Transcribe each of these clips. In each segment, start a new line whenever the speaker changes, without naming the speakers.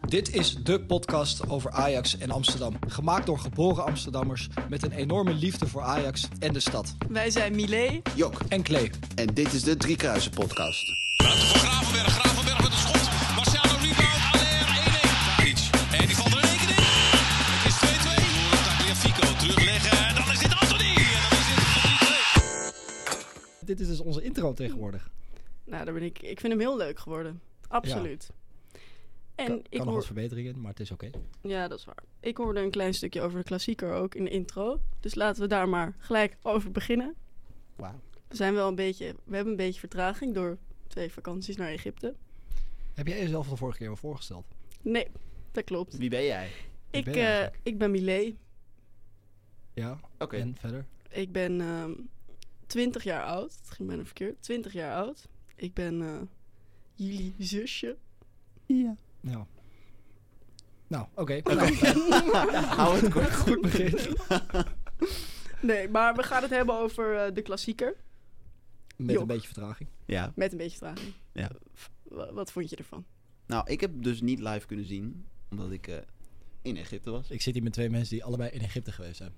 Dit is de podcast over Ajax en Amsterdam. Gemaakt door geboren Amsterdammers met een enorme liefde voor Ajax en de stad.
Wij zijn Milé.
Jok.
En Klee.
En dit is de Driekruisen podcast.
Ruimte voor Gravenberg. Gravenberg met een schot. Marciano rebound. Aller 1-1. Tadic. En die valt er in één keer in. Het is 2-2. Daar Fico terugleggen. En dan is dit Anthony. En dan is dit 3-2.
Dit is dus onze intro tegenwoordig.
Nou, daar ben ik. Ik vind hem heel leuk geworden. Absoluut. En
kan
ik
kan nog
hoor,
wat verbeteringen, maar het is oké.
ja, dat is waar. Ik hoorde een klein stukje over de klassieker ook in de intro. Dus laten we daar maar gelijk over beginnen.
Wauw.
We zijn wel een beetje, we hebben een beetje vertraging door twee vakanties naar Egypte.
Heb jij jezelf de vorige keer wel voorgesteld?
Nee, dat klopt.
Wie ben jij?
Ik,
ben
eh,
eigenlijk?
ik ben Milé.
Ja.
Oké.
En verder?
Ik ben ehm 20 jaar oud. Het ging bijna verkeerd. 20 jaar oud. Ik ben eh, jullie zusje.
Ja. Ja. Nou, oké.
Hou het kort.
Goed begin.
Nee, maar we gaan het hebben over eh, de klassieker.
Met
Jok.
een beetje vertraging.
Ja.
Met een beetje vertraging.
Ja.
W- wa- wat vond je ervan?
Nou, ik heb dus niet live kunnen zien, omdat ik eh, in Egypte was.
Ik zit hier met twee mensen die allebei in Egypte geweest zijn.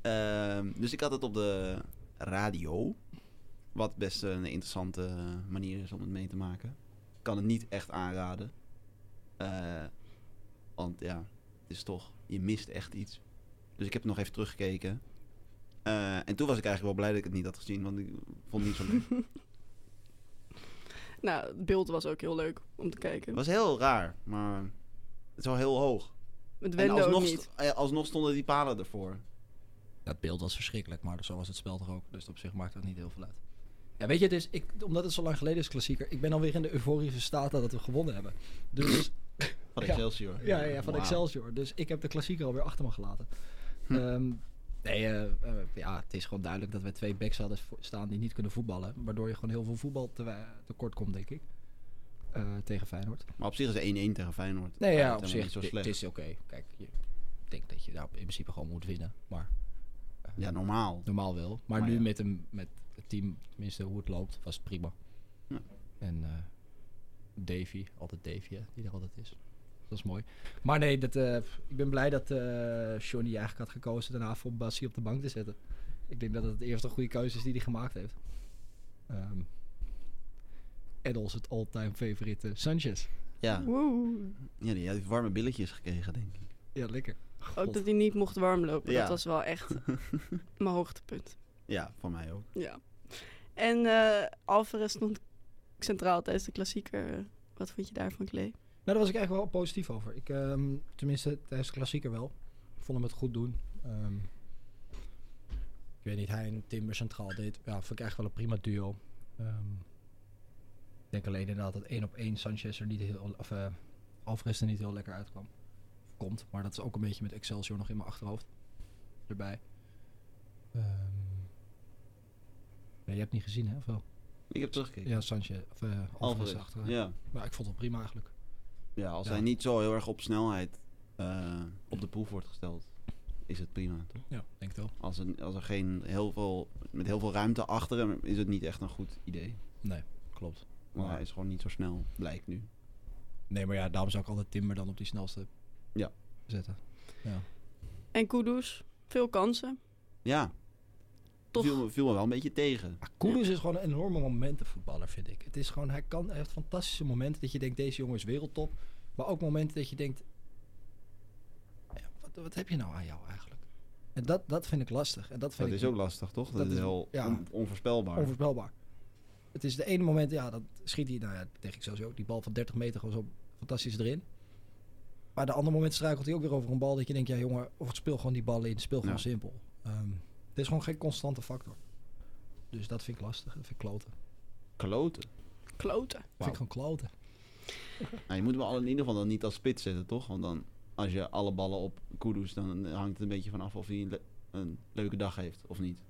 Ehm, dus ik had het op de radio, wat best een interessante manier is om het mee te maken. Ik kan het niet echt aanraden, Eh, want ja, het is toch, je mist echt iets. Dus ik heb het nog even teruggekeken. Eh, en toen was ik eigenlijk wel blij dat ik het niet had gezien, want ik vond het niet zo leuk.
Nou, het beeld was ook heel leuk om te kijken.
Het was heel raar, maar het is wel heel hoog.
Het
En
wende ook
alsnog,
niet.
st- eh, alsnog stonden die palen ervoor.
Dat beeld was verschrikkelijk, maar zo was het spel toch ook. Dus op zich maakt dat niet heel veel uit. Ja, weet je, het is, ik, omdat het zo lang geleden is, klassieker. Ik ben alweer in de euforische staat dat we gewonnen hebben. Dus,
Van
Ja.
Excelsior.
ja, ja, van
Wauw. Hm.
Excelsior. Dus ik heb de klassieker alweer achter me gelaten. Ehm, nee, eh, eh, ja, het is gewoon duidelijk dat we twee backs hadden vo- staan die niet kunnen voetballen. Waardoor je gewoon heel veel voetbal te, wa- tekort komt, denk ik. Eh, tegen Feyenoord.
Maar op zich is het 1-1 tegen Feyenoord.
Nee, ja,
Eigenlijk
op
helemaal
zich,
Niet zo
di-
slecht.
het is oké. Kijk, je- ik denk dat je daar in principe gewoon moet winnen. Maar
Ja, normaal.
normaal wel. Maar,
Maar
nu
ja.
met, hem, met het team, tenminste hoe het loopt, was het prima.
Ja.
En eh, Davy, altijd Davy, hè, die er altijd is. Dat is mooi. Maar nee, dat, eh, ik ben blij dat eh Johnny eigenlijk had gekozen daarna voor Bassi op de bank te zetten. Ik denk dat het de eerste goede keuze is die hij gemaakt heeft. Ehm en onze all-time favoriete Sanchez.
Ja.
Woe.
ja, die heeft warme billetjes gekregen, denk ik.
Ja, lekker.
Ook dat hij niet mocht warmlopen.
Ja.
Dat was wel echt mijn hoogtepunt.
Ja, voor mij ook.
Ja. En eh Alvarez stond centraal tijdens de klassieker. Wat vond je daarvan, Klee?
Nou, daar was ik eigenlijk wel positief over. Ik, ehm, tenminste, tijdens de klassieker wel. Ik vond hem het goed doen. Ehm, ik weet niet, hij en Timber centraal deed. Ja, vond ik eigenlijk wel een prima duo. Ehm, ik denk alleen inderdaad dat één op één Sanchez er niet heel... Of eh Alvarez er niet heel lekker uitkwam. Of komt, maar dat is ook een beetje met Excelsior nog in mijn achterhoofd. Erbij. Ehm, nee, je hebt niet gezien, hè? Of wel?
Ik heb teruggekeken.
Ja, Sanchez. Of eh, Alvarez
Alvarez.
achteruit.
Ja.
Maar ik vond het prima eigenlijk.
ja, als
Ja.
hij niet zo heel erg op snelheid eh, op de proef wordt gesteld, is het prima, toch?
Ja, denk het wel.
Als er, als er geen heel veel, met heel veel ruimte achter hem is het niet echt een goed idee.
Nee, klopt.
Maar
Ja.
hij is gewoon niet zo snel, blijkt nu.
Nee, maar ja, daarom zou ik altijd Timber dan op die snelste
Ja.
zetten.
En Kudus. Veel kansen.
Ja,
Toch.
Viel, me- viel me wel een beetje tegen.
Koeders Ah, is gewoon een enorme momentenvoetballer, vind ik. Het is gewoon, hij, kan, hij heeft fantastische momenten dat je denkt, deze jongen is wereldtop. Maar ook momenten dat je denkt, ja, wat, wat heb je nou aan jou eigenlijk? En dat, dat vind ik lastig. En dat vind
Dat
ik
is ook lastig, toch? Dat,
Dat
is
is-
heel
ja.
on- onvoorspelbaar.
onvoorspelbaar. Het is de ene moment, ja, dan schiet hij, nou ja, tegen ik sowieso ook, die bal van 30 meter gewoon zo fantastisch erin. Maar de andere moment struikelt hij ook weer over een bal dat je denkt, ja jongen, of het speel gewoon die bal in, speel gewoon
Ja.
simpel. Ehm, het is gewoon geen constante factor. Dus dat vind ik lastig, dat vind ik kloten. Dat
Kloten.
Kloten.
vind ik gewoon kloten.
Nou, je moet hem al in ieder geval dan niet als spits zetten, toch? Want dan, als je alle ballen op Kudus, dan hangt het een beetje van af of hij een, le- een leuke dag heeft of niet.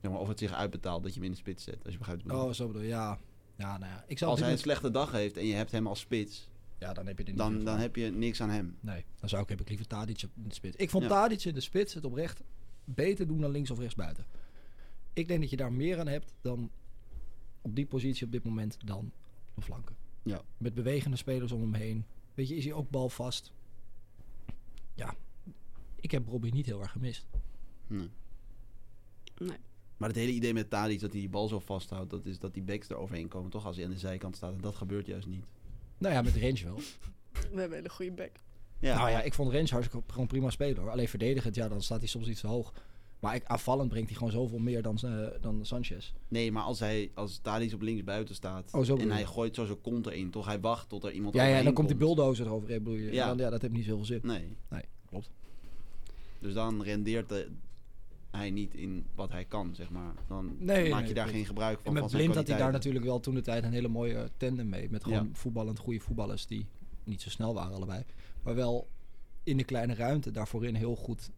Zeg maar, of het zich uitbetaalt dat je hem in de spits zet, als je begrijpt wat ik
Oh,
bedoel.
zo bedoel je, ja. Ja, nou ja, ik zou op dit
als hij een
moment-
slechte dag heeft en je hebt hem als spits,
ja, dan heb je er niet
dan,
veel
dan
van.
heb je niks aan hem.
Nee, dan zou ik, heb ik liever Tadic op- in de spits. Ik vond
Ja.
Tadic in de spits het oprecht beter doen dan links of rechts buiten. Ik denk dat je daar meer aan hebt dan op die positie op dit moment dan op de flanken.
Ja.
Met bewegende spelers om hem heen. Weet je, is hij ook balvast? Ja, ik heb Robbie niet heel erg gemist.
Nee.
Nee.
Maar het hele idee met Tadic dat hij die bal zo vasthoudt, dat is dat die backs er overheen komen, toch? Als hij aan de zijkant staat. En dat gebeurt juist niet.
Nou ja, met Range wel.
We hebben een hele goede back.
Ja,
Nou ja, ik vond Range hartstikke gewoon prima spelen hoor. Alleen verdedigend, ja, dan staat hij soms iets te hoog. Maar ik, aanvallend brengt hij gewoon zoveel meer dan, eh, dan Sanchez.
Nee, maar als, hij, als Tadic op links buiten staat
Oh, zo bedoel
en hij
je.
gooit zo zijn kont erin, toch? Hij wacht tot er iemand
Ja, ja,
overheen
dan komt die
komt.
bulldozer eroverheen, bedoel je.
Ja.
Ja. Dan, ja, dat heeft niet zoveel zin.
Nee.
Nee, klopt.
Dus dan rendeert de- hij niet in wat hij kan, zeg maar. Dan
Nee,
maak je
nee,
daar
klopt.
geen gebruik van.
En met
van zijn
Blind had hij daar
kwaliteiten.
natuurlijk wel toen de tijd een hele mooie tandem mee. Met gewoon
Ja.
voetballend goede voetballers die niet zo snel waren allebei. Maar wel in de kleine ruimte daarvoorin heel goed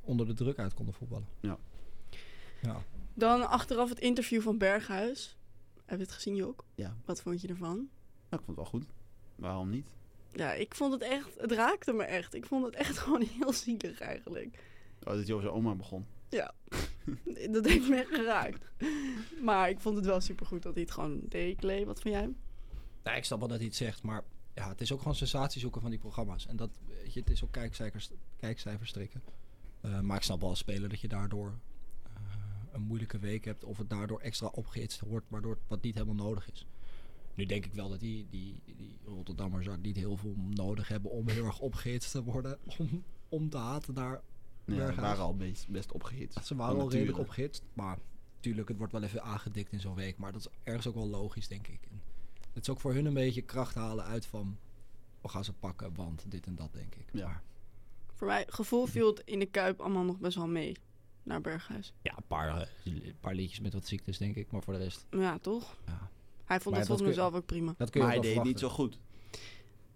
onder de druk uit konden voetballen.
Ja.
Ja.
Dan achteraf het interview van Berghuis. Heb je het gezien, Jok?
Ja.
Wat vond je ervan?
Nou, ik vond het wel goed. Waarom niet?
Ja, ik vond het echt... Het raakte me echt. Ik vond het echt gewoon heel zielig eigenlijk.
Oh, dat hij over zijn oma begon.
Dat heeft me echt geraakt. Maar ik vond het wel supergoed dat hij het gewoon deed. Clay, wat van jij?
Nou, ik snap wel dat hij het zegt, maar ja, het is ook gewoon sensatie zoeken van die programma's. En dat, weet je, het is ook kijkcijfers, kijkcijfers strikken. Eh, maar ik snap wel als speler dat je daardoor eh, een moeilijke week hebt. Of het daardoor extra opgehitst wordt, waardoor het wat niet helemaal nodig is. Nu denk ik wel dat die, die, die Rotterdammers daar niet heel veel nodig hebben om heel erg opgehitst te worden. Om, om te haten daar.
Nee, we
Berghuis.
waren al best, best opgehitst.
Ze waren
Van
al redelijk
nature.
opgehitst. Maar natuurlijk, het wordt wel even aangedikt in zo'n week. Maar dat is ergens ook wel logisch, denk ik. En het is ook voor hun een beetje kracht halen uit van... We gaan ze pakken, want dit en dat, denk ik.
Ja.
Maar,
Voor mij, gevoel viel het in de Kuip allemaal nog best wel mee. Naar Berghuis.
ja een paar, eh, li- paar liedjes met wat ziektes, denk ik. Maar voor de rest,
Ja, toch?
ja.
Hij vond
Maar
het
dat kun
volgens mij
je-
zelf ook prima.
Dat kun
Maar
je
hij
ook
deed
wel
het niet zo
verwachten.
goed.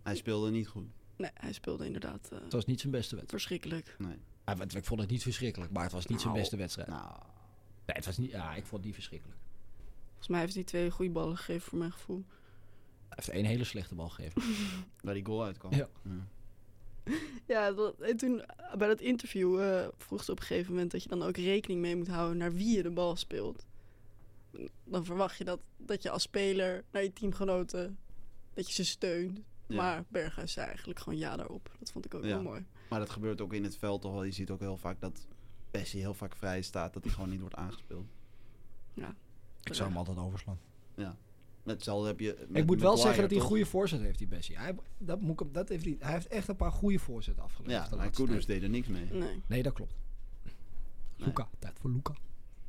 Hij speelde niet goed.
Nee, hij speelde inderdaad eh,
Het was niet zijn beste wedstrijd.
verschrikkelijk.
Nee.
Hij- want Ik vond het niet verschrikkelijk, maar het was niet zijn
Nou,
beste wedstrijd.
Nou,
Nee, het was niet, ja, ik vond het niet verschrikkelijk.
Volgens mij heeft hij twee goede ballen gegeven voor mijn gevoel.
Hij heeft één hele slechte bal gegeven.
waar die goal uitkwam.
Ja.
Ja, dat, en toen eh, bij dat interview eh, vroeg ze op een gegeven moment dat je dan ook rekening mee moet houden naar wie je de bal speelt. Dan verwacht je dat, dat je als speler naar je teamgenoten, dat je ze steunt.
Ja.
Maar Berghuis zei eigenlijk gewoon ja daarop. Dat vond ik ook
Ja.
heel mooi.
Maar dat gebeurt ook in het veld toch wel. Je ziet ook heel vaak dat Bessie heel vaak vrij staat. Dat hij gewoon niet wordt aangespeeld.
Ik zou hem altijd overslaan.
Hetzelfde heb je met
ik moet wel
Maguire,
zeggen dat hij een
toch?
goede voorzet heeft, die Bessie. Hij, dat moet ik hem- dat heeft hij, hij heeft echt een paar goede voorzetten afgelegd.
Ja, dus
de
maar
laatste
Kudus
tijd.
deed er niks mee.
Nee.
Nee, dat klopt.
Nee.
Luca, tijd voor Luca.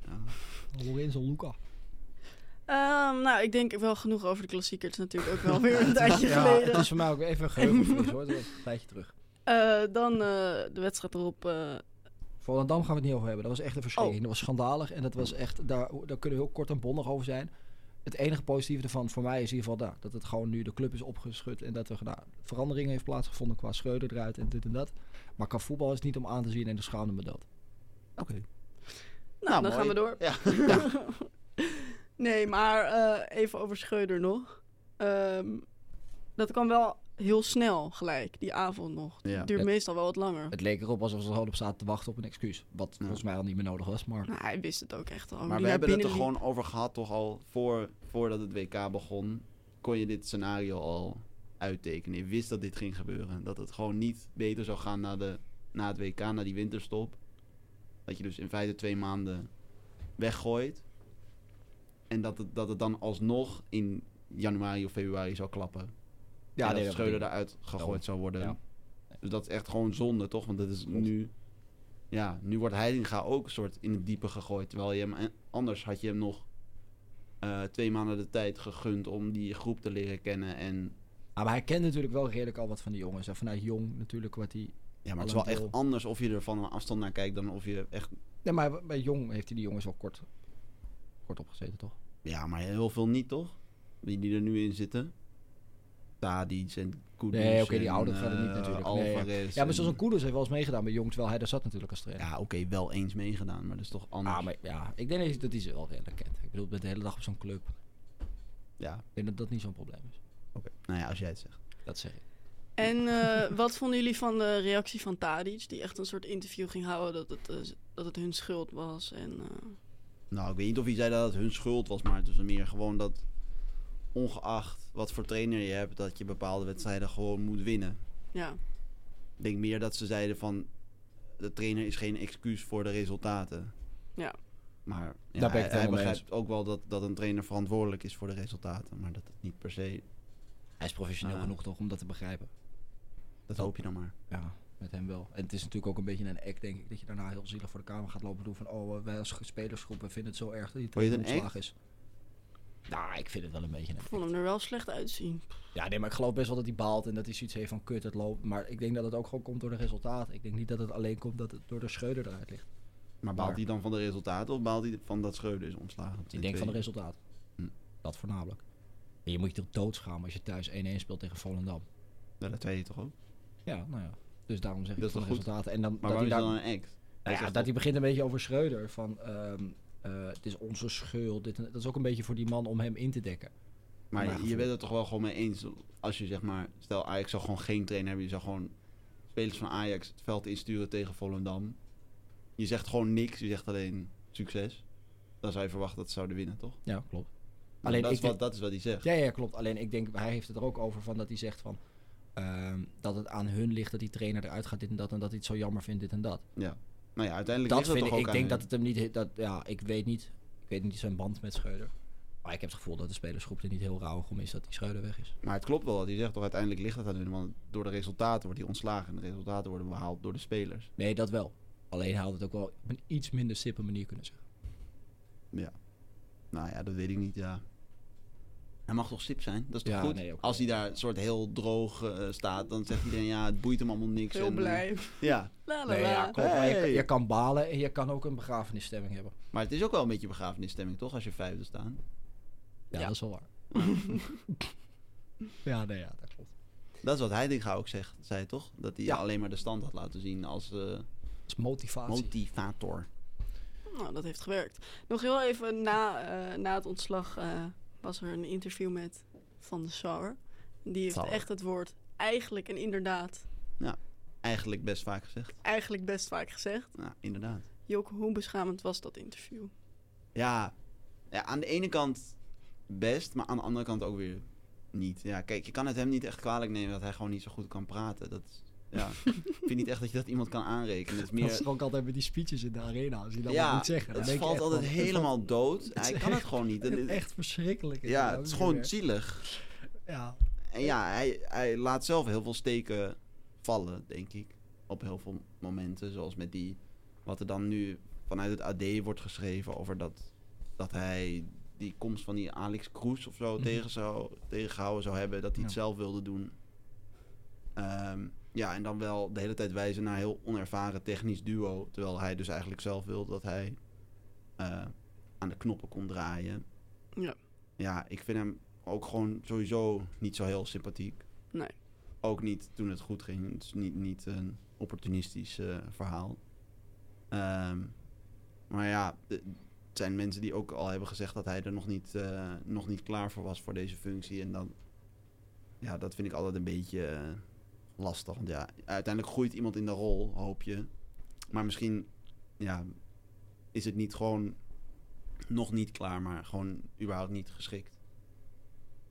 Ja.
Lorenzo Luca.
Ehm, nou, ik denk wel genoeg over de klassieker. Het is natuurlijk ook wel weer een tijdje
het
geleden.
is voor mij ook even een geheugenverlies hoor. Dat is een tijdje terug.
Eh, dan eh, de wedstrijd erop.
Nou,
eh,
Volendam gaan we het niet over hebben. Dat was echt een verschrikking. Dat was schandalig. En dat was echt, daar, daar kunnen we heel kort en bondig over zijn. Het enige positieve ervan voor mij is in ieder geval daar, dat het gewoon nu de club is opgeschud. En dat er nou, veranderingen heeft plaatsgevonden qua Schreuder eruit en dit en dat. Maar qua voetbal is het niet om aan te zien en de schaamde me dat.
Oké.
nou, dan
mooi.
gaan we door.
Ja.
nee, maar eh, even over Scheuder nog. Ehm, dat kwam wel heel snel gelijk, die avond nog.
Ja.
Het duurt
Het-
meestal wel wat langer.
Het leek erop alsof ze er al op zaten te wachten op een excuus. Wat volgens mij al niet meer nodig was. Maar
Nou, hij wist het ook echt al. hoe
Maar
die
we
Oh, naar
hebben het er
binnen liep.
gewoon over gehad, toch al voor, voordat het WK begon, kon je dit scenario al uittekenen. Je wist dat dit ging gebeuren. Dat het gewoon niet beter zou gaan na, de, na het WK, na die winterstop. Dat je dus in feite twee maanden weggooit. En dat het, dat het dan alsnog in januari of februari zou klappen. Ja, en dat
dat
Schreuder
bedoel ik.
daaruit gegooid
Daarom.
zou worden.
Ja.
Dus dat is echt gewoon zonde, toch? Want dat is nu... Ja, nu wordt Heitinga ook een soort in het diepe gegooid. Terwijl je hem... en Anders had je hem nog eh, twee maanden de tijd gegund om die groep te leren kennen. En
Ah, maar hij kent natuurlijk wel redelijk al wat van die jongens. En vanuit jong natuurlijk wat hij...
ja, maar het is wel
Alleen
echt
deel.
anders of je er van een afstand naar kijkt dan of je echt...
Nee, maar bij jong heeft hij die jongens wel kort, kort opgezeten, toch?
Ja, maar heel veel niet, toch? Die, die er nu in zitten. Tadic en Kudus.
Nee, oké, die
en,
ouderen verder niet
eh,
natuurlijk. Nee,
Alvarez.
Ja, maar zoals
en-
een Koeders heeft wel eens meegedaan bij jong, terwijl hij daar zat natuurlijk als trainer.
Ja, oké, wel eens meegedaan, maar dat is toch anders.
Ah, maar ja, ik denk dat hij- dat hij ze wel redelijk kent. Ik bedoel, met de hele dag op zo'n club.
Ja,
Ik denk dat dat niet zo'n probleem is.
oké. Nou ja, als jij het zegt.
Dat zeg ik.
En eh, wat vonden jullie van de reactie van Tadic? Die echt een soort interview ging houden dat het, eh, dat het hun schuld was. En, eh,
Nou, ik weet niet of hij zei dat het hun schuld was, maar het was meer gewoon dat ongeacht wat voor trainer je hebt, dat je bepaalde wedstrijden gewoon moet winnen.
Ja,
Ik denk meer dat ze zeiden van de trainer is geen excuus voor de resultaten.
Ja.
Maar ja,
Daar ben ik het
hij,
helemaal
hij
mee
begrijpt ook wel dat, dat een trainer verantwoordelijk is voor de resultaten. Maar dat het niet per se.
Hij is professioneel
Ah.
genoeg toch om dat te begrijpen.
Dat hoop je dan maar.
Ja, met hem wel. En het is natuurlijk ook een beetje een act, denk ik, dat je daarna heel zielig voor de kamer gaat lopen doen van, oh, eh, wij als spelersgroep, we vinden het zo erg dat die
Vond je het
trainer
een
ontslagen is. Nou, ik vind het wel een beetje een
ik
act.
vond hem er wel slecht uitzien.
Ja, nee, maar ik geloof best wel dat hij baalt en dat hij zoiets heeft van, kut, het loopt. Maar ik denk dat het ook gewoon komt door de resultaten. Ik denk niet dat het alleen komt dat het door de scheuder eruit ligt.
Maar baalt
Maar-
hij dan van de resultaten of baalt hij van dat Schreuder is ontslagen?
Ik denk van de resultaat.
Hm.
Dat voornamelijk. En je moet je toch doodschamen als je thuis 1-1 speelt tegen Volendam.
Ja, nou, dat zei je toch ook?
Ja, nou ja. Dus daarom zeg ik
Dat is
van de
toch goed?
resultaten. En dan,
Maar waarom
hij
is dat
daar-
dan een act? Hij
Nou ja,
zegt
dat
toch-
hij begint een beetje over Schreuder. Van, ehm, eh, het is onze schuld. Dit, en- dat is ook een beetje voor die man om hem in te dekken.
Maar
Ja,
je- je
gevoel.
bent het toch wel gewoon mee eens. Als je zeg maar, stel Ajax zou gewoon geen trainer hebben. Je zou gewoon spelers van Ajax het veld insturen tegen Volendam. Je zegt gewoon niks. Je zegt alleen succes. Dan zou je verwachten dat ze zouden winnen, toch?
Ja, klopt.
Alleen
Alleen
dat, is
ik denk-
wat, dat is wat hij zegt.
Ja, ja, klopt. Alleen ik denk, hij heeft het er ook over van dat hij zegt van... ehm, dat het aan hun ligt dat die trainer eruit gaat dit en dat. En dat hij het zo jammer vindt dit en dat.
Nou ja, uiteindelijk
dat
is dat
vind ik,
toch ook
ik denk
aan
dat het hem niet... Dat, ja, ik weet niet. Ik weet niet zijn band met Schreuder. Maar ik heb het gevoel dat de spelersgroep er niet heel rauw om is dat die Schreuder weg is.
hun. Maar het klopt wel wat hij zegt. Toch uiteindelijk ligt dat aan hun. Want door de resultaten wordt hij ontslagen. En de resultaten worden behaald door de spelers.
Nee, dat wel. Alleen hij had het ook wel op een iets minder stippe manier kunnen zeggen.
Nou ja, dat weet ik niet, ja. Hij mag toch sip zijn? Dat is toch
Ja,
goed?
nee, ook
Als hij
wel.
daar een soort heel droog eh, staat, dan zegt iedereen... Ja, het boeit hem allemaal niks.
Heel
en, eh,
blij.
ja,
La la
Nee, ja,
la.
klopt. Maar je,
Hey.
je kan balen en je kan ook een begrafenisstemming hebben.
Maar het is ook wel een beetje begrafenisstemming, toch? Als je vijfde staat.
Ja,
Ja.
dat is wel waar. ja, nee, ja, dat klopt.
Dat is wat Heidinga ook zegt, zei toch? Dat hij
Ja.
alleen maar de stand had laten zien als eh,
Dat is motivatie.
motivator.
Nou, dat heeft gewerkt. Nog heel even na, eh, na het ontslag eh, was er een interview met Van de Sar. Die heeft
Sar.
echt het woord eigenlijk en inderdaad
Eigenlijk best vaak gezegd.
eigenlijk best vaak gezegd.
Nou, inderdaad.
Joke, hoe beschamend was dat interview?
Ja. ja, aan de ene kant best, maar aan de andere kant ook weer niet. Ja, kijk, je kan het hem niet echt kwalijk nemen dat hij gewoon niet zo goed kan praten. Dat is, ja. ik vind niet echt dat je dat iemand kan aanrekenen. Het is
Dat
meer...
is toch ook altijd met die speeches in de arena. Als je dat
Ja,
maar moet zeggen. Dan
het
denk je
valt
echt
altijd
van, het
helemaal dood.
is
Hij kan het
echt-
gewoon niet. En-
valt Echt verschrikkelijk. is
ja,
dat
het is
ook
gewoon
weer.
zielig.
Ja,
En ja, hij, hij laat zelf heel veel steken vallen, denk ik. Op heel veel momenten. Zoals met die. Wat er dan nu vanuit het AD wordt geschreven over dat. Dat hij die komst van die Alex Kroes of zo
Mhm.
tegen zou, tegengehouden zou hebben. Dat hij het
Ja.
zelf wilde doen. Ehm, ja, en dan wel de hele tijd wijzen naar een heel onervaren technisch duo. Terwijl hij dus eigenlijk zelf wilde dat hij eh, aan de knoppen kon draaien.
Ja.
Ja, ik vind hem ook gewoon sowieso niet zo heel sympathiek.
Nee.
Ook niet toen het goed ging. Het is niet, niet een opportunistisch eh, verhaal. Ehm, maar ja, de- het zijn mensen die ook al hebben gezegd dat hij er nog niet, eh, nog niet klaar voor was voor deze functie. En dan, ja, dat vind ik altijd een beetje eh, lastig. Want ja, uiteindelijk groeit iemand in de rol, hoop je. Maar misschien, ja, is het niet gewoon nog niet klaar, maar gewoon überhaupt niet geschikt.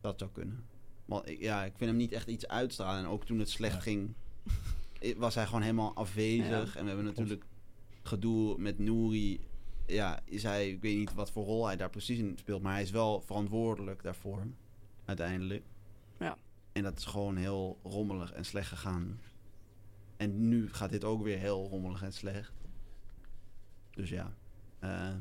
Dat zou kunnen. Want ik, ja, ik vind hem niet echt iets uitstralen. En ook toen het slecht
Ja.
ging, i- was hij gewoon helemaal afwezig. En we hebben natuurlijk gedoe met Nouri. Ja, is hij, ik weet niet wat voor rol hij daar precies in speelt, maar hij is wel verantwoordelijk daarvoor, uiteindelijk.
Ja.
En dat is gewoon heel rommelig en slecht gegaan. En nu gaat dit ook weer heel rommelig en slecht. Dus ja, eh,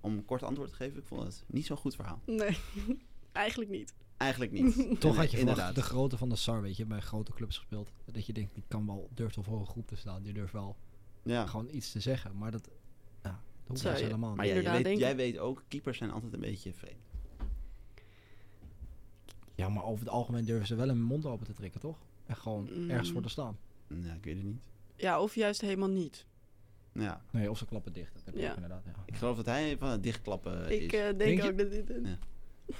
om een kort antwoord te geven, ik vond het niet zo'n goed verhaal.
Nee, eigenlijk niet.
Eigenlijk niet.
toch
Nee,
had je
inderdaad.
verwacht de grootte van de SAR, weet je, bij grote clubs gespeeld. Dat je denkt, die kan wel, durft wel voor een groep te staan. Die durft wel
Ja.
gewoon iets te zeggen. Maar dat, ja, dat hoeft
Zou
dus
je-
helemaal
Maar
niet.
ja,
Inderdaad,
jij, weet,
denk
jij
ik.
weet ook, keepers zijn altijd een beetje vreemd.
Ja, maar over het algemeen durven ze wel hun mond open te trekken, toch? En gewoon
Mm.
ergens voor te staan.
Ja, Nou, ik weet het niet. Nou
Ja, of juist helemaal niet.
Ja,
Nee, of ze klappen dicht. Dat heb ik
Ja.
ook inderdaad, ja.
ik geloof dat hij van het dichtklappen is.
Ik eh, denk,
Denk je-
ook dat dit... een-
Ja.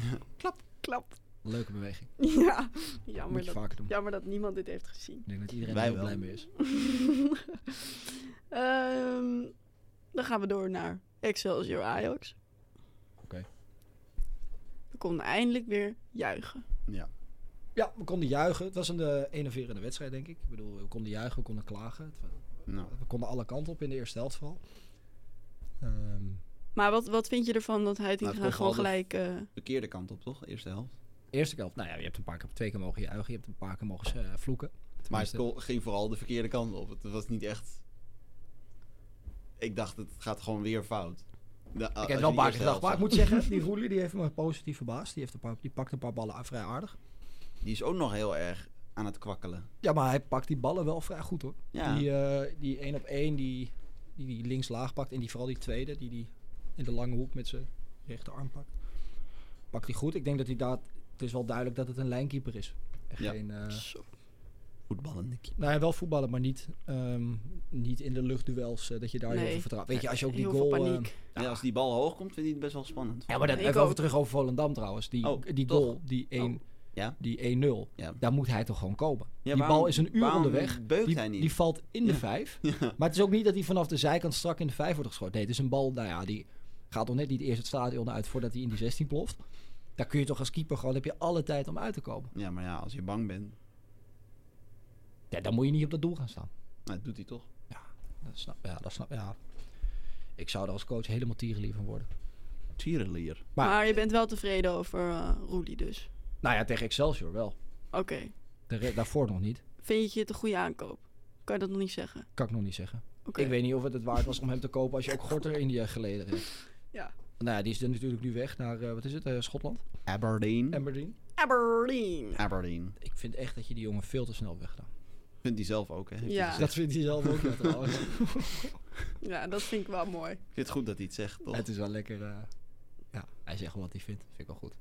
klap, klap.
Leuke beweging.
Ja,
Moet
jammer
je
dat,
vaker doen.
jammer dat niemand dit heeft gezien.
Ik denk dat iedereen
Wij
er heel blij
wel.
mee is.
Ehm, dan gaan we door naar Excelsior Ajax.
Oké.
We konden eindelijk weer juichen.
Ja.
Ja, we konden juichen. Het was een eh, enerverende wedstrijd, denk ik. Ik bedoel, we konden juichen, we konden klagen. Het wa-
Nou,
We konden alle kanten op in de eerste helft vooral. Ehm,
Maar wat, wat vind je ervan dat Heitinga
Nou, het komt
gewoon
wel
gelijk... eh,
verkeerde kant op, toch? Eerste helft.
eerste helft, nou ja, je hebt een paar keer, twee keer mogen juichen, je hebt een paar keer mogen eh, vloeken.
Maar het
Tenminste,
ko- ging vooral de verkeerde kant op. Het was niet echt... Ik dacht, het gaat gewoon weer fout. De- als
ik heb
je
wel een paar
die
keer
eerste
gedacht, maar
helft
ik moet zeggen, die Roelie die heeft me positief verbaasd. Die, heeft een paar, die pakt een paar ballen aan- vrij aardig.
zag, Die is ook nog heel erg aan het kwakkelen.
Ja, maar hij pakt die ballen wel vrij goed hoor.
Ja.
Die, eh, die één op één, die, die, die links laag pakt. En die vooral die tweede, die die in de lange hoek met zijn rechterarm pakt. Pakt hij goed. Ik denk dat hij daar... Het is wel duidelijk dat het een lijnkeeper is. En
Ja.
Geen, eh,
zo-
Voetballende keeper.
nou ja, wel voetballen, maar niet, ehm, niet in de luchtduels. eh, dat je daar heel
Nee.
veel vertrouwt. Weet je, als je ook die
heel
goal...
veel
eh,
paniek.
Ja, als die bal hoog komt, vind ik het best wel spannend.
ja, maar dat
Ik
even over
ook.
terug over Volendam trouwens. Die,
Oh,
die
toch?
goal, die 1
Ja.
die 1-0.
Ja.
Daar moet hij toch gewoon komen. die
waarom-
bal is een uur
waarom
onderweg.
beukt
Die,
hij niet?
die valt in de vijf.
Ja.
Maar het is ook niet dat hij vanaf de zijkant strak in de vijf wordt geschoten. Nee, het is een bal, nou ja, die gaat nog net niet eerst het stadion uit voordat hij in die 16 ploft. Daar kun je toch als keeper gewoon, heb je alle tijd om uit te komen.
ja, maar ja, als je bang bent,
Ja, dan moet je niet op dat doel gaan staan.
nou, dat doet hij toch.
Dat snap, ja, dat snap ja. Ik zou er als coach helemaal tierenlief van worden.
Tierenlier.
Maar-
Maar, je bent wel tevreden over eh Roelie dus.
Nou ja, tegen Excelsior wel.
Oké.
De re- daarvoor nog niet.
Vind je het een goede aankoop? Kan je dat nog niet zeggen?
Kan ik nog niet zeggen.
Oké.
Ik weet niet of het het waard was om hem te kopen als je ook Gorter in die eh, geleden hebt.
Ja.
Nou ja, die is er natuurlijk nu weg naar, eh, wat is het, eh, Schotland?
Aberdeen.
Mm. Aberdeen.
Aberdeen.
Aberdeen.
Ik vind echt dat je die jongen veel te snel weggedaan.
Vindt hij zelf ook, hè? Heeft
Ja.
hij gezegd.
Dus Dat vindt hij zelf ook net trouwens.
Ja, dat vind ik wel mooi.
Ik vind het goed dat hij het zegt, toch?
Het is wel lekker. eh, ja, hij zegt wel wat hij vindt. Vind ik wel goed.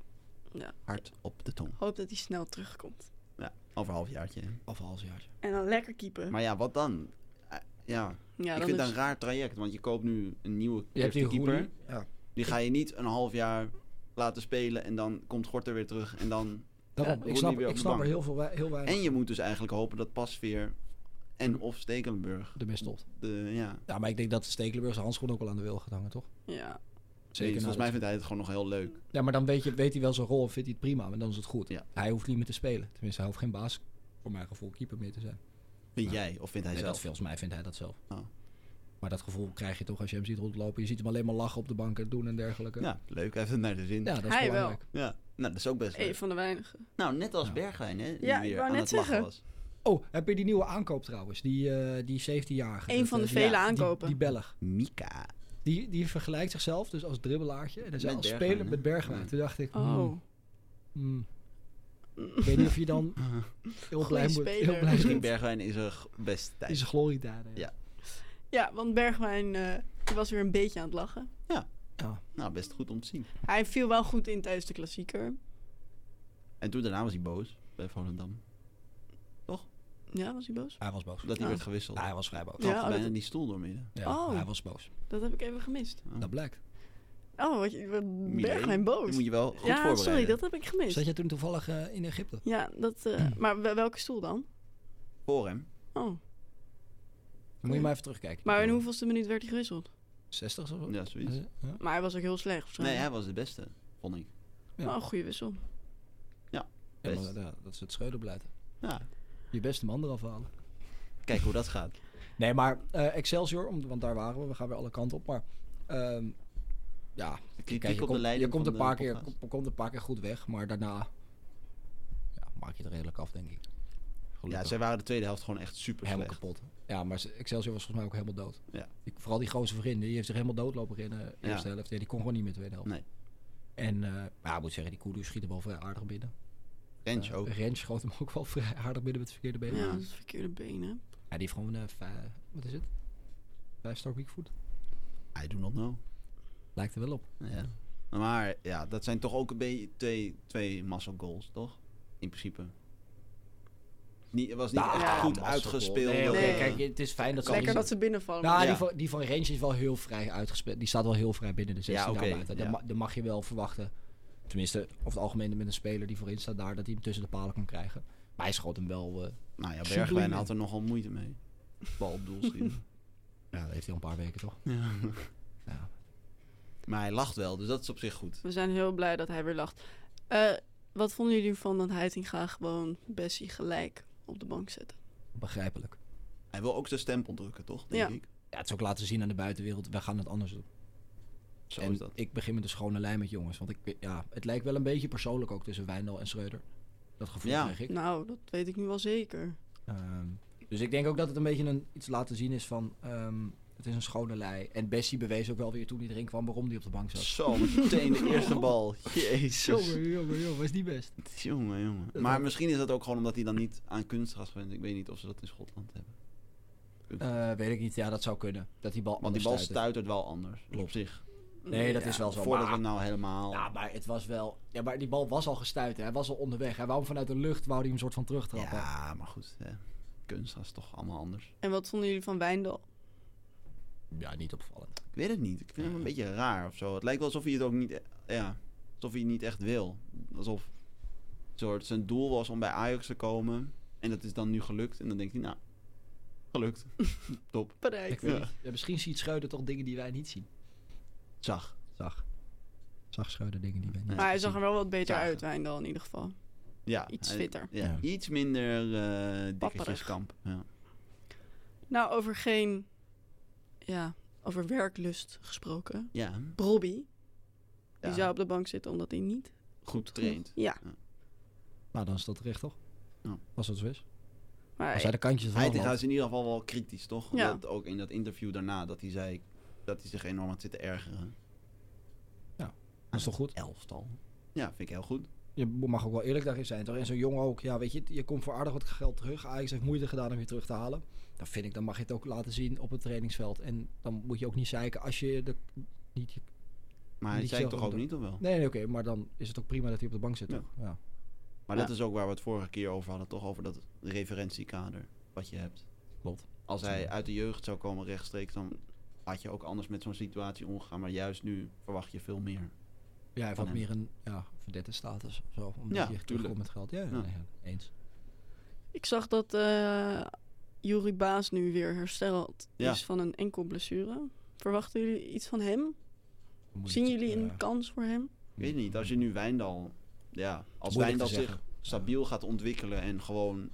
Hard op de tong.
Hoop dat hij snel terugkomt.
Ja, over een halfjaartje. hè.
Of een halfjaartje.
En dan lekker keepen.
Maar ja, wat dan? Eh, Ja,
Ja,
ik
dan
vind
is-
dat een raar traject, want je koopt nu een nieuwe
Je hebt
eerste
die
keeper.
keeper. Ja.
Die ga je niet een half jaar laten spelen en dan komt Gorter weer terug en dan...
Daarom,
Roelie
ik snap,
weer op
ik
de
snap er
bank.
heel, veel, wei- heel weinig
En je moet dus eigenlijk hopen dat Pasveer en of Stekelenburg...
de best tot.
De, ja,
Ja, maar ik denk dat Stekelenburg zijn handschoen ook al aan de wil gaat hangen, toch?
Ja.
Zeker
volgens
na
mij
dat-
vindt hij het gewoon nog heel leuk.
Ja, maar dan weet, je, weet hij wel zijn rol en vindt hij het prima. Maar dan is het goed.
Ja.
Hij hoeft niet meer te spelen. Tenminste, hij hoeft geen baas, voor mijn gevoel, keeper meer te zijn.
Vind jij, of vindt hij
Nee, dat,
zelf?
volgens mij vindt hij dat zelf.
Oh.
Maar dat gevoel krijg je toch als je hem ziet rondlopen. Je ziet hem alleen maar lachen op de bank en doen en dergelijke.
Ja, leuk. Hij heeft het naar de zin.
Ja,
Ja.
dat is
Hij wel.
belangrijk.
Nou, dat is ook best leuk.
Een van de weinigen.
Nou, net als Bergwijn, hè? die
Ja, ik
weer
wou
aan
net
het lachen
zeggen.
Was.
Oh, heb je die nieuwe aankoop trouwens? Die, eh, die 17-jarige.
Eén
Dat,
van de
eh,
vele
die-
aankopen.
Die Belg.
Mika.
Die, die vergelijkt zichzelf dus als dribbelaartje. En dan zei
Met
als
Bergwijn,
speler
hè?
met Bergwijn.
Ja.
Toen dacht ik,
Oh.
hmm, hmm. ik weet niet of je dan heel blij moet.
speler.
Heel blij
Misschien
moet.
Bergwijn is er g- best tijd.
Is een gloriedaden.
Ja.
Ja, want Bergwijn eh, die was weer een beetje aan het lachen.
Nou, best goed om te zien.
Hij viel wel goed in tijdens de klassieker.
En toen daarna was hij boos bij Volendam.
Ja, was hij boos?
Hij was boos.
Dat hij
Ah.
werd gewisseld.
Ja, hij was vrij boos.
Trapte
Ja, oh,
bijna
dat-
die stoel doormidden.
Ja,
Oh.
Hij was boos.
Dat heb ik even gemist.
Dat blijkt.
Oh, wat, je- wat
Milé,
Bergwijn
Die
boos.
moet je wel goed
ja,
voorbereiden.
sorry, dat heb ik gemist.
Zat jij toen toevallig eh, in Egypte?
Ja, dat, eh, maar wel- welke stoel dan?
Voor hem.
Oh,
Moet je maar even terugkijken.
maar in hoeveelste minuut werd hij gewisseld?
60 of zo?
Ja, zoiets.
Ja.
Maar hij was ook heel slecht of zo.
Nee, hij was de beste, vond ik.
ja.
Maar een goede wissel.
Ja,
Best.
maar, ja, dat is het scheuderbeleid.
Ja,
Je beste man eraf halen.
kijk hoe dat gaat.
Nee, maar eh, Excelsior, om, want daar waren we. We gaan weer alle kanten op. Maar ehm, ja,
De
kijk,
kritiek
je,
op
komt,
de leiding
je komt
van
een paar
de
keer,
podcast.
kom- komt een paar keer goed weg. Maar daarna ja, maak je het redelijk af, denk ik.
Ja,
Gelukkig.
zij waren de tweede helft gewoon echt super
helemaal
slecht.
kapot. Ja, maar ze- Excelsior was volgens mij ook helemaal dood.
Ja.
Ik, vooral die grote vriend, die heeft zich helemaal dood lopen in de eerste helft. Ja, die kon gewoon niet meer tweede helft.
Nee.
En eh maar ik moet zeggen, die Koeders schiet hem wel vrij aardig binnen.
Rens
Eh,
ook.
Rens schoot hem ook wel vrij aardig binnen met het verkeerde been.
Ja,
Ja.
dat is verkeerde benen.
die heeft gewoon een vijf, wat is het? Vijf star weak foot.
I do not know.
Lijkt er wel op.
Ja. Maar ja, dat zijn toch ook een beetje twee, twee muscle goals, toch? In principe. Niet, het was niet
Nou,
echt
ja,
goed
muscle
uitgespeeld.
Nee,
eh,
oké,
Nee.
kijk, het is fijn dat ze...
Lekker
al die-
dat ze binnenvallen.
Nou,
Ja.
die, van, die van Range is wel heel vrij uitgespeeld. Die staat wel heel vrij binnen de 16
Ja, oké,
buiten. Dat,
ja.
ma- dat mag je wel verwachten. Tenminste, over het algemeen met een speler die voorin staat daar, dat hij hem tussen de palen kan krijgen. Maar hij schoot hem wel... eh
nou ja,
Super
Bergwijn
League.
had er nogal moeite mee. Bal op doel schieten.
ja, dat heeft hij al een paar weken toch?
ja.
Ja.
Maar hij lacht wel, dus dat is op zich goed.
We zijn heel blij dat hij weer lacht. Eh, wat vonden jullie van dat Heitinga gewoon Bessie gelijk op de bank zette?
Begrijpelijk.
Hij wil ook zijn stempel drukken, toch? Denk
Ja.
ik.
Ja, het is ook laten zien aan de buitenwereld, wij gaan het anders doen.
Zo
en
is dat.
ik begin met een schone lijn met jongens. Want ik, ja, het lijkt wel een beetje persoonlijk ook tussen Wijndal en Schreuder. Dat gevoel
Ja.
krijg ik.
Nou, dat weet ik nu wel zeker.
Ehm, dus ik denk ook dat het een beetje een, iets laten zien is van... ehm, het is een schone lei. En Bessie bewees ook wel weer toen hij erin kwam waarom hij op de bank zat.
Zo, meteen de eerste bal. Jezus.
jongen, jongen, was niet best.
Jongen, jongen. Maar misschien is dat ook gewoon omdat hij dan niet aan kunstgras bent. Ik weet niet of ze dat in Schotland hebben.
Eh, weet ik niet. Ja, dat zou kunnen. Dat die bal
Want
anders
die bal
stuitte.
stuitert wel anders. Dus op
Klopt.
zich.
Nee, dat
Ja,
is wel zo.
Voordat
Maar-
we nou helemaal...
Ja, maar het was wel... Ja, maar die bal was al gestuit. hè. Hij was al onderweg. Hij wou hem vanuit de lucht wou hij hem soort van terugtrappen.
Ja, maar goed. Hè. Kunstgras is toch allemaal anders.
En wat vonden jullie van Wijndal?
Ja, niet opvallend.
Ik weet het niet. Ik vind hem een beetje raar of zo. Het lijkt wel alsof hij het ook niet... e- Ja, alsof hij het niet echt wil. Alsof soort zijn doel was om bij Ajax te komen. En dat is dan nu gelukt. En dan denkt hij, nou, gelukt. Top.
Ik
Bereikt.
weet
Ja.
niet. Ja, misschien ziet Schreuder toch dingen die wij niet zien.
Zag.
Zag. Zag Schreuder dingen die wij niet
Ja.
Maar hij zag er wel wat beter
Zagen.
uit, Wijndal in ieder geval.
Ja.
Iets
hij-
fitter.
Ja,
Ja.
iets minder eh
Papperig.
dikketjeskamp. Ja.
Nou, over geen... Ja, over werklust gesproken.
ja.
Robbie,
ja.
die zou op de bank zitten omdat hij niet...
Goed getraind.
Ja,
Nou, dan is dat terecht, toch?
Ja.
Als dat zo is.
maar
Als hij de kantjes van
Hij,
had.
hij is in ieder geval wel kritisch, toch?
Ja.
Dat ook in dat interview daarna, dat hij zei dat hij zich enorm had zitten ergeren.
Dat is toch goed?
Elftal. Ja, vind ik heel goed.
Je mag ook wel eerlijk daarin zijn, toch? En zo jong ook. Ja, weet je, je komt voor aardig wat geld terug. Ajax heeft moeite gedaan om je terug te halen. Dan vind ik, dan mag je het ook laten zien op het trainingsveld. En dan moet je ook niet zeiken als je... De, niet,
Maar hij
Niet
zei
zo
toch
goed
ook
dan.
niet, of wel?
nee, nee oké, maar dan is het ook prima dat hij op de bank zit,
Ja.
toch? Ja.
Maar
Ja.
dat is ook waar we het vorige keer over hadden, toch? Over dat referentiekader wat je hebt.
Klopt.
Als hij uit de jeugd zou komen rechtstreeks, dan had je ook anders met zo'n situatie omgegaan. Maar juist nu verwacht je veel meer.
Ja, hij
Van
had
hem.
meer een ja, verdette status of zo. Omdat je
Ja,
echt
tuurlijk.
terugkomt met geld. Ja, ja,
Ja.
nee, ja, eens.
Ik zag dat eh Jurie Baas nu weer hersteld
Ja.
is van een enkel blessure. Verwachten jullie iets van hem?
Moet
Zien
je-
jullie een
eh,
kans voor hem?
Ik weet niet, als je nu Wijndal... Ja,
moeilijk
als
te
Wijndal zich
zeggen.
stabiel gaat ontwikkelen en gewoon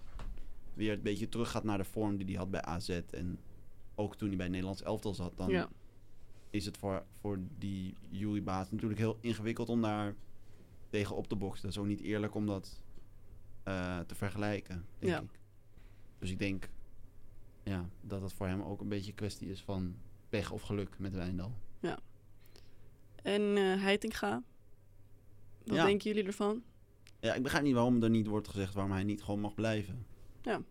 weer een beetje terug gaat naar de vorm die hij had bij AZ. En ook toen hij bij Nederlands elftal zat, dan
Ja.
is het voor, voor die Jury Baas natuurlijk heel ingewikkeld om daar tegen op te boksen. Dat is ook niet eerlijk om dat eh, te vergelijken, denk
Ja.
ik. Dus ik denk ja, dat dat voor hem ook een beetje een kwestie is van pech of geluk met Wijndal.
En eh Heitinga? Wat
Ja.
denken jullie ervan?
Ja, ik begrijp niet waarom er niet wordt gezegd waarom hij niet gewoon mag blijven.
Ja.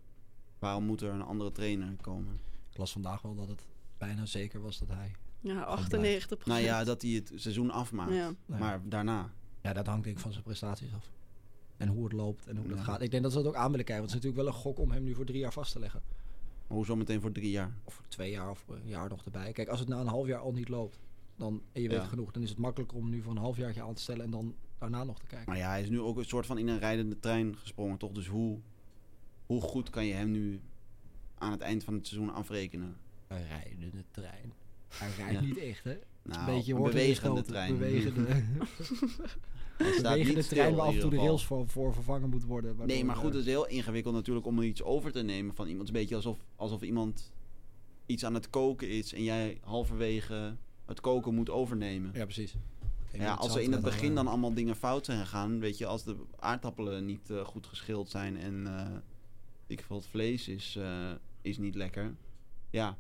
Waarom moet er een andere trainer komen?
Ik las vandaag wel dat het bijna zeker was dat hij...
Ja,
Gewoon
98
Nou ja, dat hij het seizoen afmaakt.
Ja.
Nee.
Maar daarna.
Ja, dat hangt denk ik van zijn prestaties af. En hoe het loopt en hoe dat
Ja.
gaat. Ik denk dat ze dat ook aan willen kijken. Want het is natuurlijk wel een gok om hem nu voor drie jaar vast te leggen.
Hoe zometeen voor drie jaar?
Of voor twee jaar of een jaar nog erbij. Kijk, als het na een half jaar al niet loopt. Dan, en je weet
Ja.
genoeg. Dan is het makkelijker om nu voor een half jaartje aan te stellen. En dan daarna nog te kijken.
Maar ja, hij is nu ook een soort van in een rijdende trein gesprongen, toch? Dus hoe, hoe goed kan je hem nu aan het eind van het seizoen afrekenen?
Een rijdende trein. Hij rijdt
Ja.
niet echt, hè?
Nou,
een beetje
een
hoort
bewegende
gestoten.
trein.
Bewegende,
Hij staat
bewegende
niet
trein
stil
waar af en
in
toe de
ieder
rails
geval.
voor, voor vervangen moet worden.
Nee,
waardoor,
maar goed,
eh,
het is heel ingewikkeld natuurlijk om iets over te nemen van iemand. Het is een beetje alsof, alsof iemand iets aan het koken is en jij halverwege het koken moet overnemen.
Ja, precies.
dus- Ja, als er in het begin
eh,
dan allemaal dingen fout zijn gegaan, weet je, als de aardappelen niet eh, goed geschild zijn en eh, ik veel het vlees is, eh, is niet lekker, ja,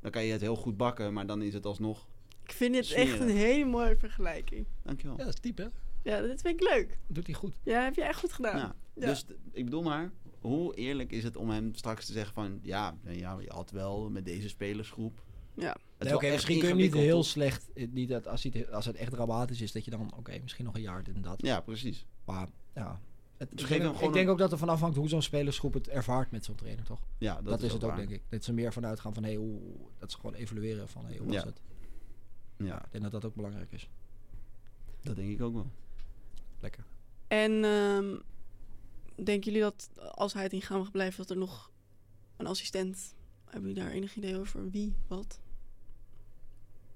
dan kan je het heel goed bakken, maar dan is het alsnog.
Ik vind dit echt
Smerig.
een hele mooie vergelijking.
Dankjewel.
Ja, dat is diep, hè?
Ja, dit vind ik leuk.
Dat doet hij goed.
Ja, heb je echt goed gedaan.
Ja,
Ja.
Dus d- ik bedoel maar, hoe eerlijk is het om hem straks te zeggen van, ja, nou ja je had wel met deze spelersgroep.
Ja.
Het is
Nee,
wel
oké,
echt
misschien kun je hem niet heel
ingewikkeld,
slecht. eh, Niet dat als, hij het, als het echt dramatisch is, dat je dan, oké, misschien nog een jaar dit en dat.
toch? Ja, precies.
Maar ja. Het,
Dus
ik
geef
denk,
hem
ook-
gewoon
ik denk
een-
ook dat er van afhangt hoe zo'n spelersgroep het ervaart met zo'n trainer, toch?
Ja, dat,
Dat, is, het ook,
waar.
denk ik. Dat ze meer vanuit gaan van, hey, hoe, dat ze gewoon evalueren van, hey, hoe was
Ja.
het?
Ja,
Ik denk dat dat ook belangrijk is.
dat denk ik ook wel.
Lekker.
En ehm, denken jullie dat als hij het in gaan mag blijven, dat er nog een assistent... Hebben jullie daar enig idee over? Wie? Wat?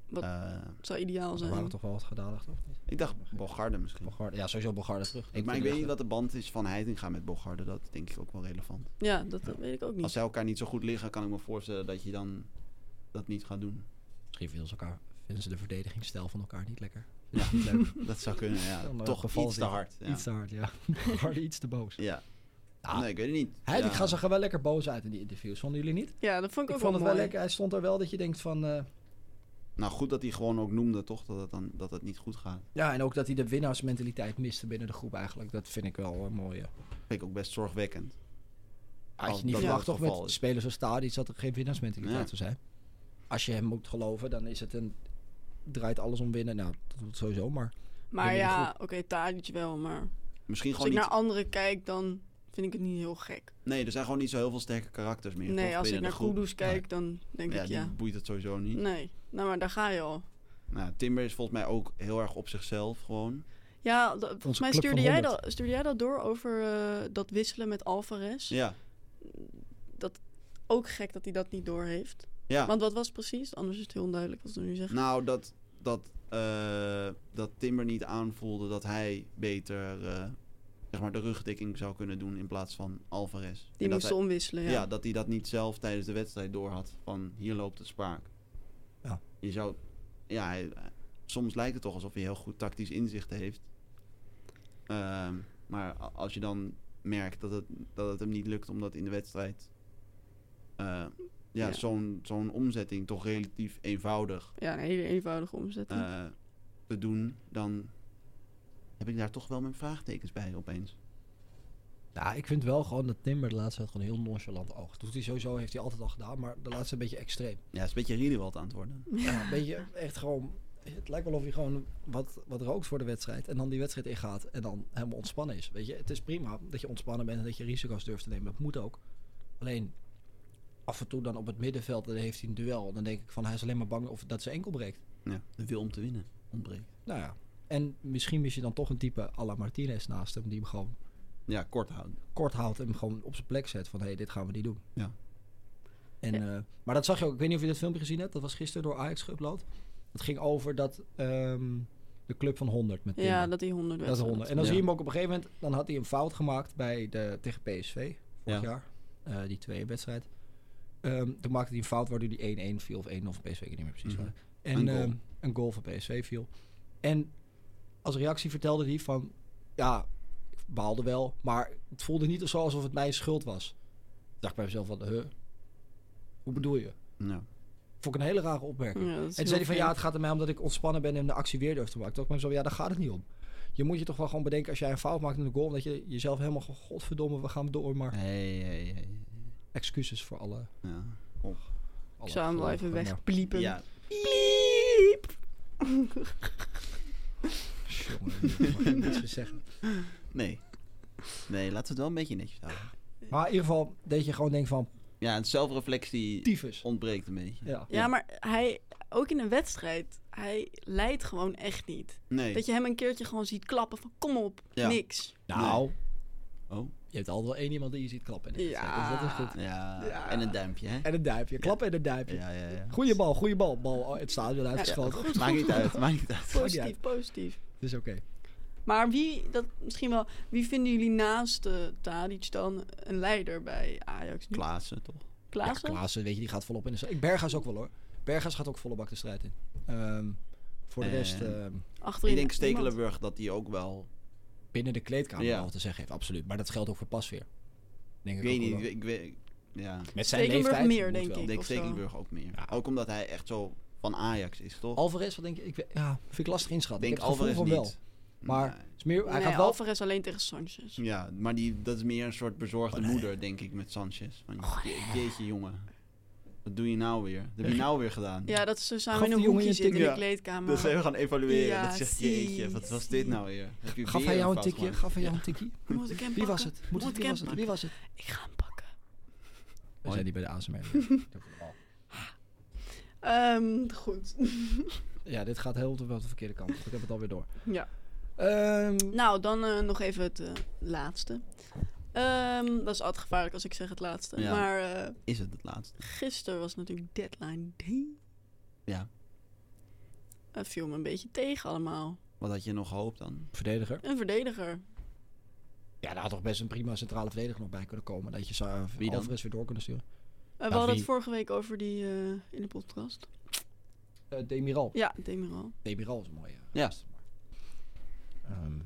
Wat-
Eh,
zou ideaal
Er
zijn.
waren toch wel wat gedadigd, of niet?
ik dacht Bogarde misschien.
Bogarde, ja, sowieso Bogarde terug.
Ik, maar ik weet niet wat de band is van Heitinga met Bogarde. Dat denk ik ook wel relevant.
Ja, dat eh, weet ik ook niet.
Als zij elkaar niet zo goed liggen, kan ik me voorstellen dat je dan dat niet gaat doen.
Misschien vinden ze, elkaar, vinden ze de verdedigingsstijl van elkaar niet lekker.
Ja,
Niet leuk.
dat zou kunnen. Ja.
nou
Kan wel
Toch
geval
iets te
zijn.
hard. Ja.
Iets te hard, ja. Bogarde iets te boos.
Ja.
Ah.
Nee, ik weet het niet.
Hij
ja.
ik ga zag er wel lekker boos uit in die interviews. Vonden jullie niet?
Ja, dat vond ik,
Ik
ook
vond
wel
het wel
mooi.
lekker. Hij stond er wel dat je denkt van... eh,
Nou, goed dat hij gewoon ook noemde, toch? Dat het, dan, dat het niet goed gaat.
ja, en ook dat hij de winnaarsmentaliteit miste binnen de groep eigenlijk. Dat vind ik wel een mooie.
Vind ik ook best zorgwekkend.
Had
Als
je niet
Oh, dat
verwacht
het
toch
geval
met
is.
spelers als Stadis dat er geen winnaarsmentaliteit zou
Ja.
zijn. Als je hem moet geloven, dan is het een... Draait alles om winnen. Nou, dat doet het sowieso, maar...
Maar
Binnen de
ja, oké, Tadic wel, maar
Misschien
als
gewoon
ik
niet.
naar anderen kijk, dan vind ik het niet heel gek.
Nee, er zijn gewoon niet zo heel veel sterke karakters meer.
nee,
toch,
als ik
binnen
naar
de groep.
Kudus kijk, dan denk
Ja,
ik
die
ja.
boeit het sowieso niet.
Nee, nou maar daar ga je al.
Nou, Timber is volgens mij ook heel erg op zichzelf gewoon.
Ja, dat- volgens mij
club van
stuurde jij,
100.
dat, stuurde jij dat door over eh, dat wisselen met Alvarez.
Ja.
Ook gek dat hij dat niet door heeft.
Ja.
Want wat was het precies? Anders is het heel onduidelijk wat ze nu zeggen.
Nou, dat, dat, eh, dat Timber niet aanvoelde dat hij beter eh, zeg maar de rugdekking zou kunnen doen in plaats van Alvarez.
die
En dat
moesten omwisselen,
hij,
ja.
ja. dat hij dat niet zelf tijdens de wedstrijd doorhad. Van hier loopt het spaak.
Ja.
Je zou, ja, hij- soms lijkt het toch alsof hij heel goed tactisch inzicht heeft. Ehm, maar a- als je dan merkt dat het, dat het hem niet lukt omdat in de wedstrijd eh, ja,
Ja.
zo'n zo'n omzetting toch relatief eenvoudig
Ja, een hele eenvoudige omzetting.
eh, te doen, dan heb ik daar toch wel mijn vraagtekens bij opeens.
Ja, ik vind wel gewoon dat Timber de laatste tijd gewoon heel nonchalant oogt. Doet hij sowieso, heeft hij altijd al gedaan, maar de laatste een beetje extreem.
Ja, het is een beetje Riedewald aan het worden.
Ja, een beetje echt gewoon... Het lijkt wel of hij gewoon wat, wat rookt voor de wedstrijd. En dan die wedstrijd ingaat en dan helemaal ontspannen is. Weet je, het is prima dat je ontspannen bent en dat je risico's durft te nemen. Dat moet ook. Alleen af en toe dan op het middenveld, dan heeft hij een duel. Dan denk ik van, hij is alleen maar bang of dat zijn enkel breekt.
Ja, de wil om te winnen ontbreekt.
Nou ja. En misschien mis je dan toch een type à la Martinez naast hem. Die hem gewoon
Ja, kort houden.
kort haalt en hem gewoon op zijn plek zet. Van, hé, hey, dit gaan we niet doen.
Ja.
En, eh, maar dat zag je ook. Ik weet niet of je dat filmpje gezien hebt. Dat was gisteren door Ajax geüpload. Het ging over dat ehm, de club van 100 met Timber.
ja, dat die 100
Dat is
wedstrijden.
ronde. En dan
Ja.
zie je hem ook op een gegeven moment, dan had hij een fout gemaakt bij de, tegen PSV vorig
Ja.
jaar. Eh, die tweede wedstrijd. Ehm, toen maakte hij een fout waardoor hij 1-1 viel of 1-0 van PSV, ik weet niet meer precies.
Mhm.
waar. En
Een
een
goal.
goal. een goal van PSV viel. En als reactie vertelde hij van, ja, ik baalde wel, maar het voelde niet zo alsof het mijn schuld was. Ik dacht bij mezelf van, huh, hoe bedoel je?
Ja.
Vond ik een hele rare opmerking.
Ja, dat is
En toen
heel
zei hij van
vreemd.
ja, het gaat er mij om dat ik ontspannen ben en de actie weer durf te maken. Toch? Maar zo, ja, daar gaat het niet om. Je moet je toch wel gewoon bedenken als jij een fout maakt in de goal, dat je jezelf helemaal van godverdomme, we gaan door. Maar
Hey, hey, hey.
excuses voor alle.
Ja.
alle
Ik zou hem wel even
gelovigen,
wegpliepen.
ja.
Piep!
maar- Jongen, jongen, mag ik niets meer zeggen.
Nee. Nee, laten we het wel een beetje netjes houden.
Maar in ieder geval dat je gewoon denkt van
Ja, en zelfreflectie
tyfus.
ontbreekt een beetje.
Ja.
Ja, maar hij, ook in een wedstrijd, hij leidt gewoon echt niet.
Nee.
Dat je hem een keertje gewoon ziet klappen van kom op,
Ja.
niks.
Nou,
Oh.
je hebt altijd wel één iemand die je ziet klappen. in de wedstrijd,
Ja.
Dus dat is goed.
Ja.
Ja.
En een duimpje, hè?
En een duimpje, klappen en een duimpje.
Ja, ja, ja.
Goeie bal, goeie bal. Bal oh, het stadion uitgeschoten.
goed,
Maakt
goed,
niet
goed.
uit, maakt niet uit.
Maakt niet
Positief,
uit.
positief.
Het is oké.
Maar wie, dat misschien wel, wie vinden jullie naast eh, Tadic dan een leider bij Ajax? nu?
Klaassen, toch?
Klaassen?
Ja, Klaassen, weet je, die gaat volop in de strijd. Berghuis ook wel hoor. Berghuis gaat ook volle bak de strijd in. Ehm, voor de
En-
rest, ehm,
Achterin
Ik denk
niemand.
Stekelenburg dat die ook wel...
binnen de kleedkamer
Ja.
wel te zeggen heeft, absoluut. Maar dat geldt ook voor Pasveer. Denk
Ik
ik,
weet
ook wel.
niet, ik weet... Ja.
Met zijn
Stekelenburg
leeftijd
meer,
moet
denk
wel.
ik.
Ik denk
of zo.
Stekelenburg ook meer.
Ja.
Ook omdat hij echt zo van Ajax is, toch?
Alvarez, wat denk ik? ik weet- ja, vind ik lastig inschatten.
denk
ik heb het gevoel
Alvarez
van
niet.
wel. Maar
Nee.
het is meer, hij
Nee,
gaat wel... Hm.
Alvarez alleen tegen Sanchez.
Ja, maar die, dat is meer een soort bezorgde
Oh,
moeder, denk ik, met Sanchez. Van, je- jeetje, jongen. Wat doe je nou weer? Dat heb je nou weer gedaan.
Ja, dat ze samen
Gaf
in
die
een
jongen
hoekje
je een Dus,
zitten in de
tikje?
kleedkamer.
Dat
eh,
zijn we Dus gaan evalueren.
Ja,
dat zegt
zie,
jeetje, wat was
zie.
dit nou weer? Heb je
Gaf
weer
hij jou een
fout
tikje?
gemaakt?
Gaf hij jou een tikje?
Moet ik hem
Wie was
pakken?
het? Moet het?
Moet ik
Wie
hem
was het? Wie was het?
Ik ga hem pakken.
We zijn die bij de ASMR.
Ehm, goed.
ja, dit gaat heel wel de verkeerde kant. op. Ik heb het alweer door.
ja.
Ehm,
Nou, dan eh, nog even het eh, laatste. Ehm, dat is altijd gevaarlijk als ik zeg het laatste.
Ja.
Maar eh,
Is het het laatste?
gisteren was natuurlijk deadline day.
Ja.
Het viel me een beetje tegen allemaal.
Wat had je nog gehoopt dan?
Verdediger.
Een verdediger.
Ja, daar had toch best een prima centrale verdediger nog bij kunnen komen. Dat je zou
Wie dan?
Alvarez weer door kunnen sturen.
Eh, we hadden
Nou, wie-
het vorige week over die eh, in de podcast.
Eh, Demiral.
Ja, Demiral.
Demiral is een mooie.
Ja.
Ehm,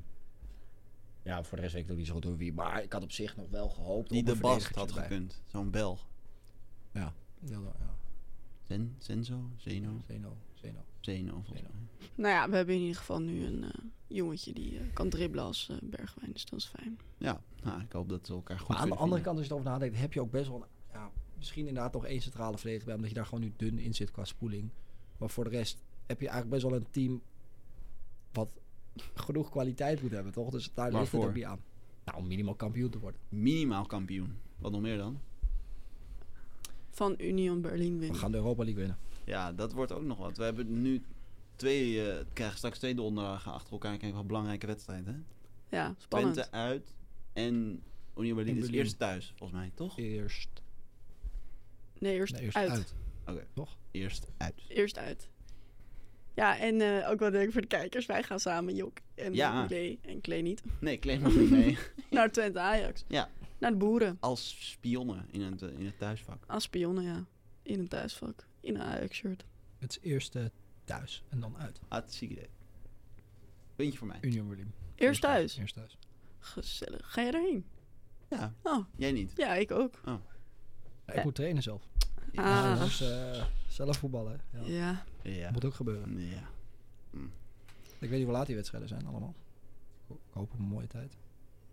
ja, voor de rest weet ik nog niet zo goed door wie. Maar ik had op zich nog wel gehoopt
Die
op een
de Bast
verdedigertje
had
erbij.
gekund. Zo'n Belg.
Ja. Ja, ja.
Zen, Zenzo? Zeno?
Zeno. Zeno.
Zeno, volgens mij.
Nou ja, we hebben in ieder geval nu een eh, jongetje die eh, kan dribbelen als eh, Bergwijn. Dus dat is fijn.
Ja, nou, ik hoop dat ze elkaar goed
Maar aan de
vinden.
andere kant, als je erover nadenkt, heb je ook best wel... een- ja, misschien inderdaad nog één centrale verdediger bij, omdat je daar gewoon nu dun in zit qua spoeling. Maar voor de rest heb je eigenlijk best wel een team wat genoeg kwaliteit moet hebben, toch? Dus daar ligt het
Waarvoor?
ook niet aan. Nou, om minimaal kampioen te worden.
Minimaal kampioen. Wat nog meer dan?
Van Union Berlin
We
winnen.
gaan de Europa League winnen.
Ja, dat wordt ook nog wat. We hebben nu twee, eh, krijgen straks twee donderdagen achter elkaar. Kijk, wat belangrijke wedstrijden. hè?
Ja, spannend.
Twente uit en Union Berlin
En
is
Berlin.
eerst thuis, volgens mij, toch?
Eerst,
Nee, eerst,
nee, eerst
uit.
uit.
Eerst uit.
Eerst uit. Ja, en eh, ook wel leuk voor de kijkers. Wij gaan samen, Jok en
Ja.
Klee en Klee niet,
Nee, claim nog niet mee.
naar Twente Ajax.
Ja.
Naar de boeren.
Als spionnen in het, eh, in het thuisvak.
Als spionnen, ja. In een thuisvak. In een Ajax-shirt.
Het is eerst eh, thuis en dan uit.
Hartstikke idee. Puntje voor mij.
Union Berlin.
Eerst thuis.
Eerst thuis.
Gezellig. Ga je daarheen?
Ja,
Oh,
jij niet.
ja, ik ook.
Ja, ik moet trainen zelf.
Ah.
Dus eh, zelf voetballen. hè. Ja.
Ja.
Ja.
Moet ook gebeuren.
Ja.
Ik weet niet hoe laat die wedstrijden zijn allemaal. Ik ho- ik hoop op een mooie tijd.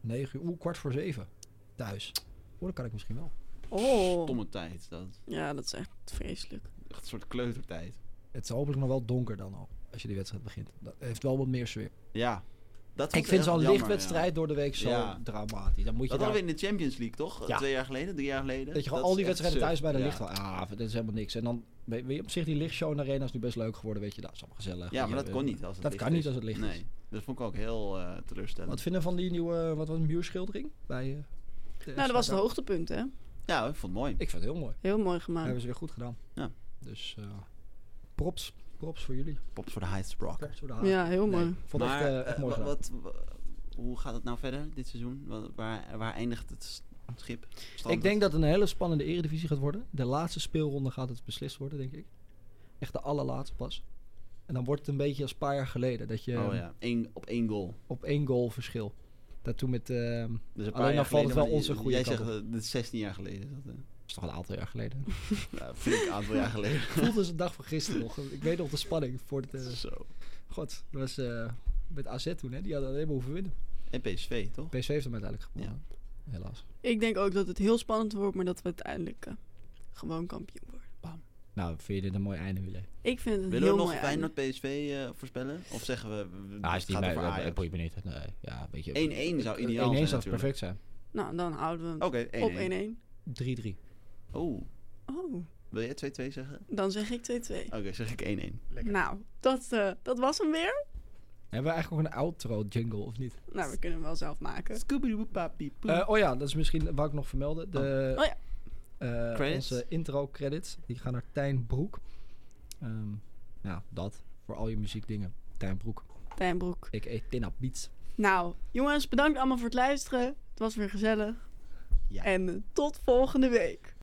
9 uur, oeh, kwart voor 7. Thuis. Oh, dat kan ik misschien wel.
Oh.
Stomme tijd. Dat.
Ja, dat is echt vreselijk.
Echt een soort kleutertijd.
Het is hopelijk nog wel donker dan al, als je die wedstrijd begint. Dat heeft wel wat meer sfeer.
Ja. Dat
Ik
was
vind
echt
zo'n
jammer,
lichtwedstrijd door de week zo
Ja.
dramatisch. Dan moet
Ja.
je
Dat hadden
daar,
we in de Champions League, toch?
Ja.
Twee jaar geleden, drie jaar geleden.
dat je gewoon
is
al die
echt
wedstrijden thuis
suf.
bij de
ja.
licht Ah, dat is helemaal niks. En dan, weet weet je, op zich die lichtshow in de arena is nu best leuk geworden, weet je. Dat is allemaal gezellig.
Ja, maar
Weet
dat
je,
kon
eh,
niet als het
dat
licht
kan niet
is.
als het licht
nee.
is.
dat vond ik ook heel eh, teleurstellend.
Wat vinden we van die nieuwe, wat was een muurschildering? Bij, eh, de
Nou, dat was het
SVK?
hoogtepunt, hè?
Ja, ik vond het mooi.
Ik vind het heel mooi.
Heel mooi
Dat
gemaakt.
hebben ze weer goed gedaan.
Ja.
Dus eh, props. Props voor jullie.
Pops voor de Heights Rock.
Props voor de haat.
Ja, heel
Nee,
mooi.
vond ik echt, eh, echt
eh,
mooi
wa-
gedaan.
wat, wa- hoe gaat het nou verder dit seizoen? Wa- Waar, waar eindigt het s- schip? Strandt
Ik denk dat het een hele spannende eredivisie gaat worden. De laatste speelronde gaat het beslist worden, denk ik. Echt de allerlaatste pas. En dan wordt het een beetje als een paar jaar geleden. Dat je
het? Oh ja, Eén- op één goal.
op één goal verschil. Dat toen met... ehm dat
Dus een
Alleen dan valt het wel
maar
onze
j-
goede
Jij
kant
zegt eh, dat is 16 jaar geleden. is Dat, eh?
is toch een aantal jaar geleden.
nou, flink een aantal jaar geleden.
Voelde als een dag van gisteren nog. Ik weet nog de spanning voor het... eh,
Zo.
God, dat was eh, met AZ toen, hè. Die hadden alleen maar hoeven winnen.
En PSV, toch?
PSV heeft hem uiteindelijk gewonnen. Helaas.
Ik denk ook dat het heel spannend wordt, maar dat we uiteindelijk eh, gewoon kampioen worden.
Nou, vind je dit een mooi einde, Willy?
Ik vind het een
Willen
heel
we nog
mooi einde.
Feyenoord PSV eh, voorspellen? Of zeggen we, we
Nou,
het
is die
gaat
mij,
over
dat- dat
Ajax? 1-1
boeit me niet. Nee, ja, weet je.
zou ideaal
1-1
zijn
zou
natuurlijk.
perfect zijn.
Nou, dan houden we hem
Oké, 1-1.
op
3-3.
Oh,
1-1. Oh,
wil jij 2-2 zeggen?
dan zeg ik 2-2.
Oh,
Oké, zeg ik 1-1.
Nou, dat, eh, dat was hem weer.
Hebben we eigenlijk ook een outro jingle of niet?
Nou, we kunnen hem wel zelf maken.
Eh, oh ja, dat is misschien wat ik nog vermelden. De,
Oh ja.
eh,
Credits.
onze intro credits die gaan naar Tijn Broek. Ehm, ja, dat voor al je muziekdingen. Tijn Broek.
Tijn Broek.
Ik eet Tina Beats.
Nou, jongens, bedankt allemaal voor het luisteren. Het was weer gezellig.
Ja.
En eh, tot volgende week.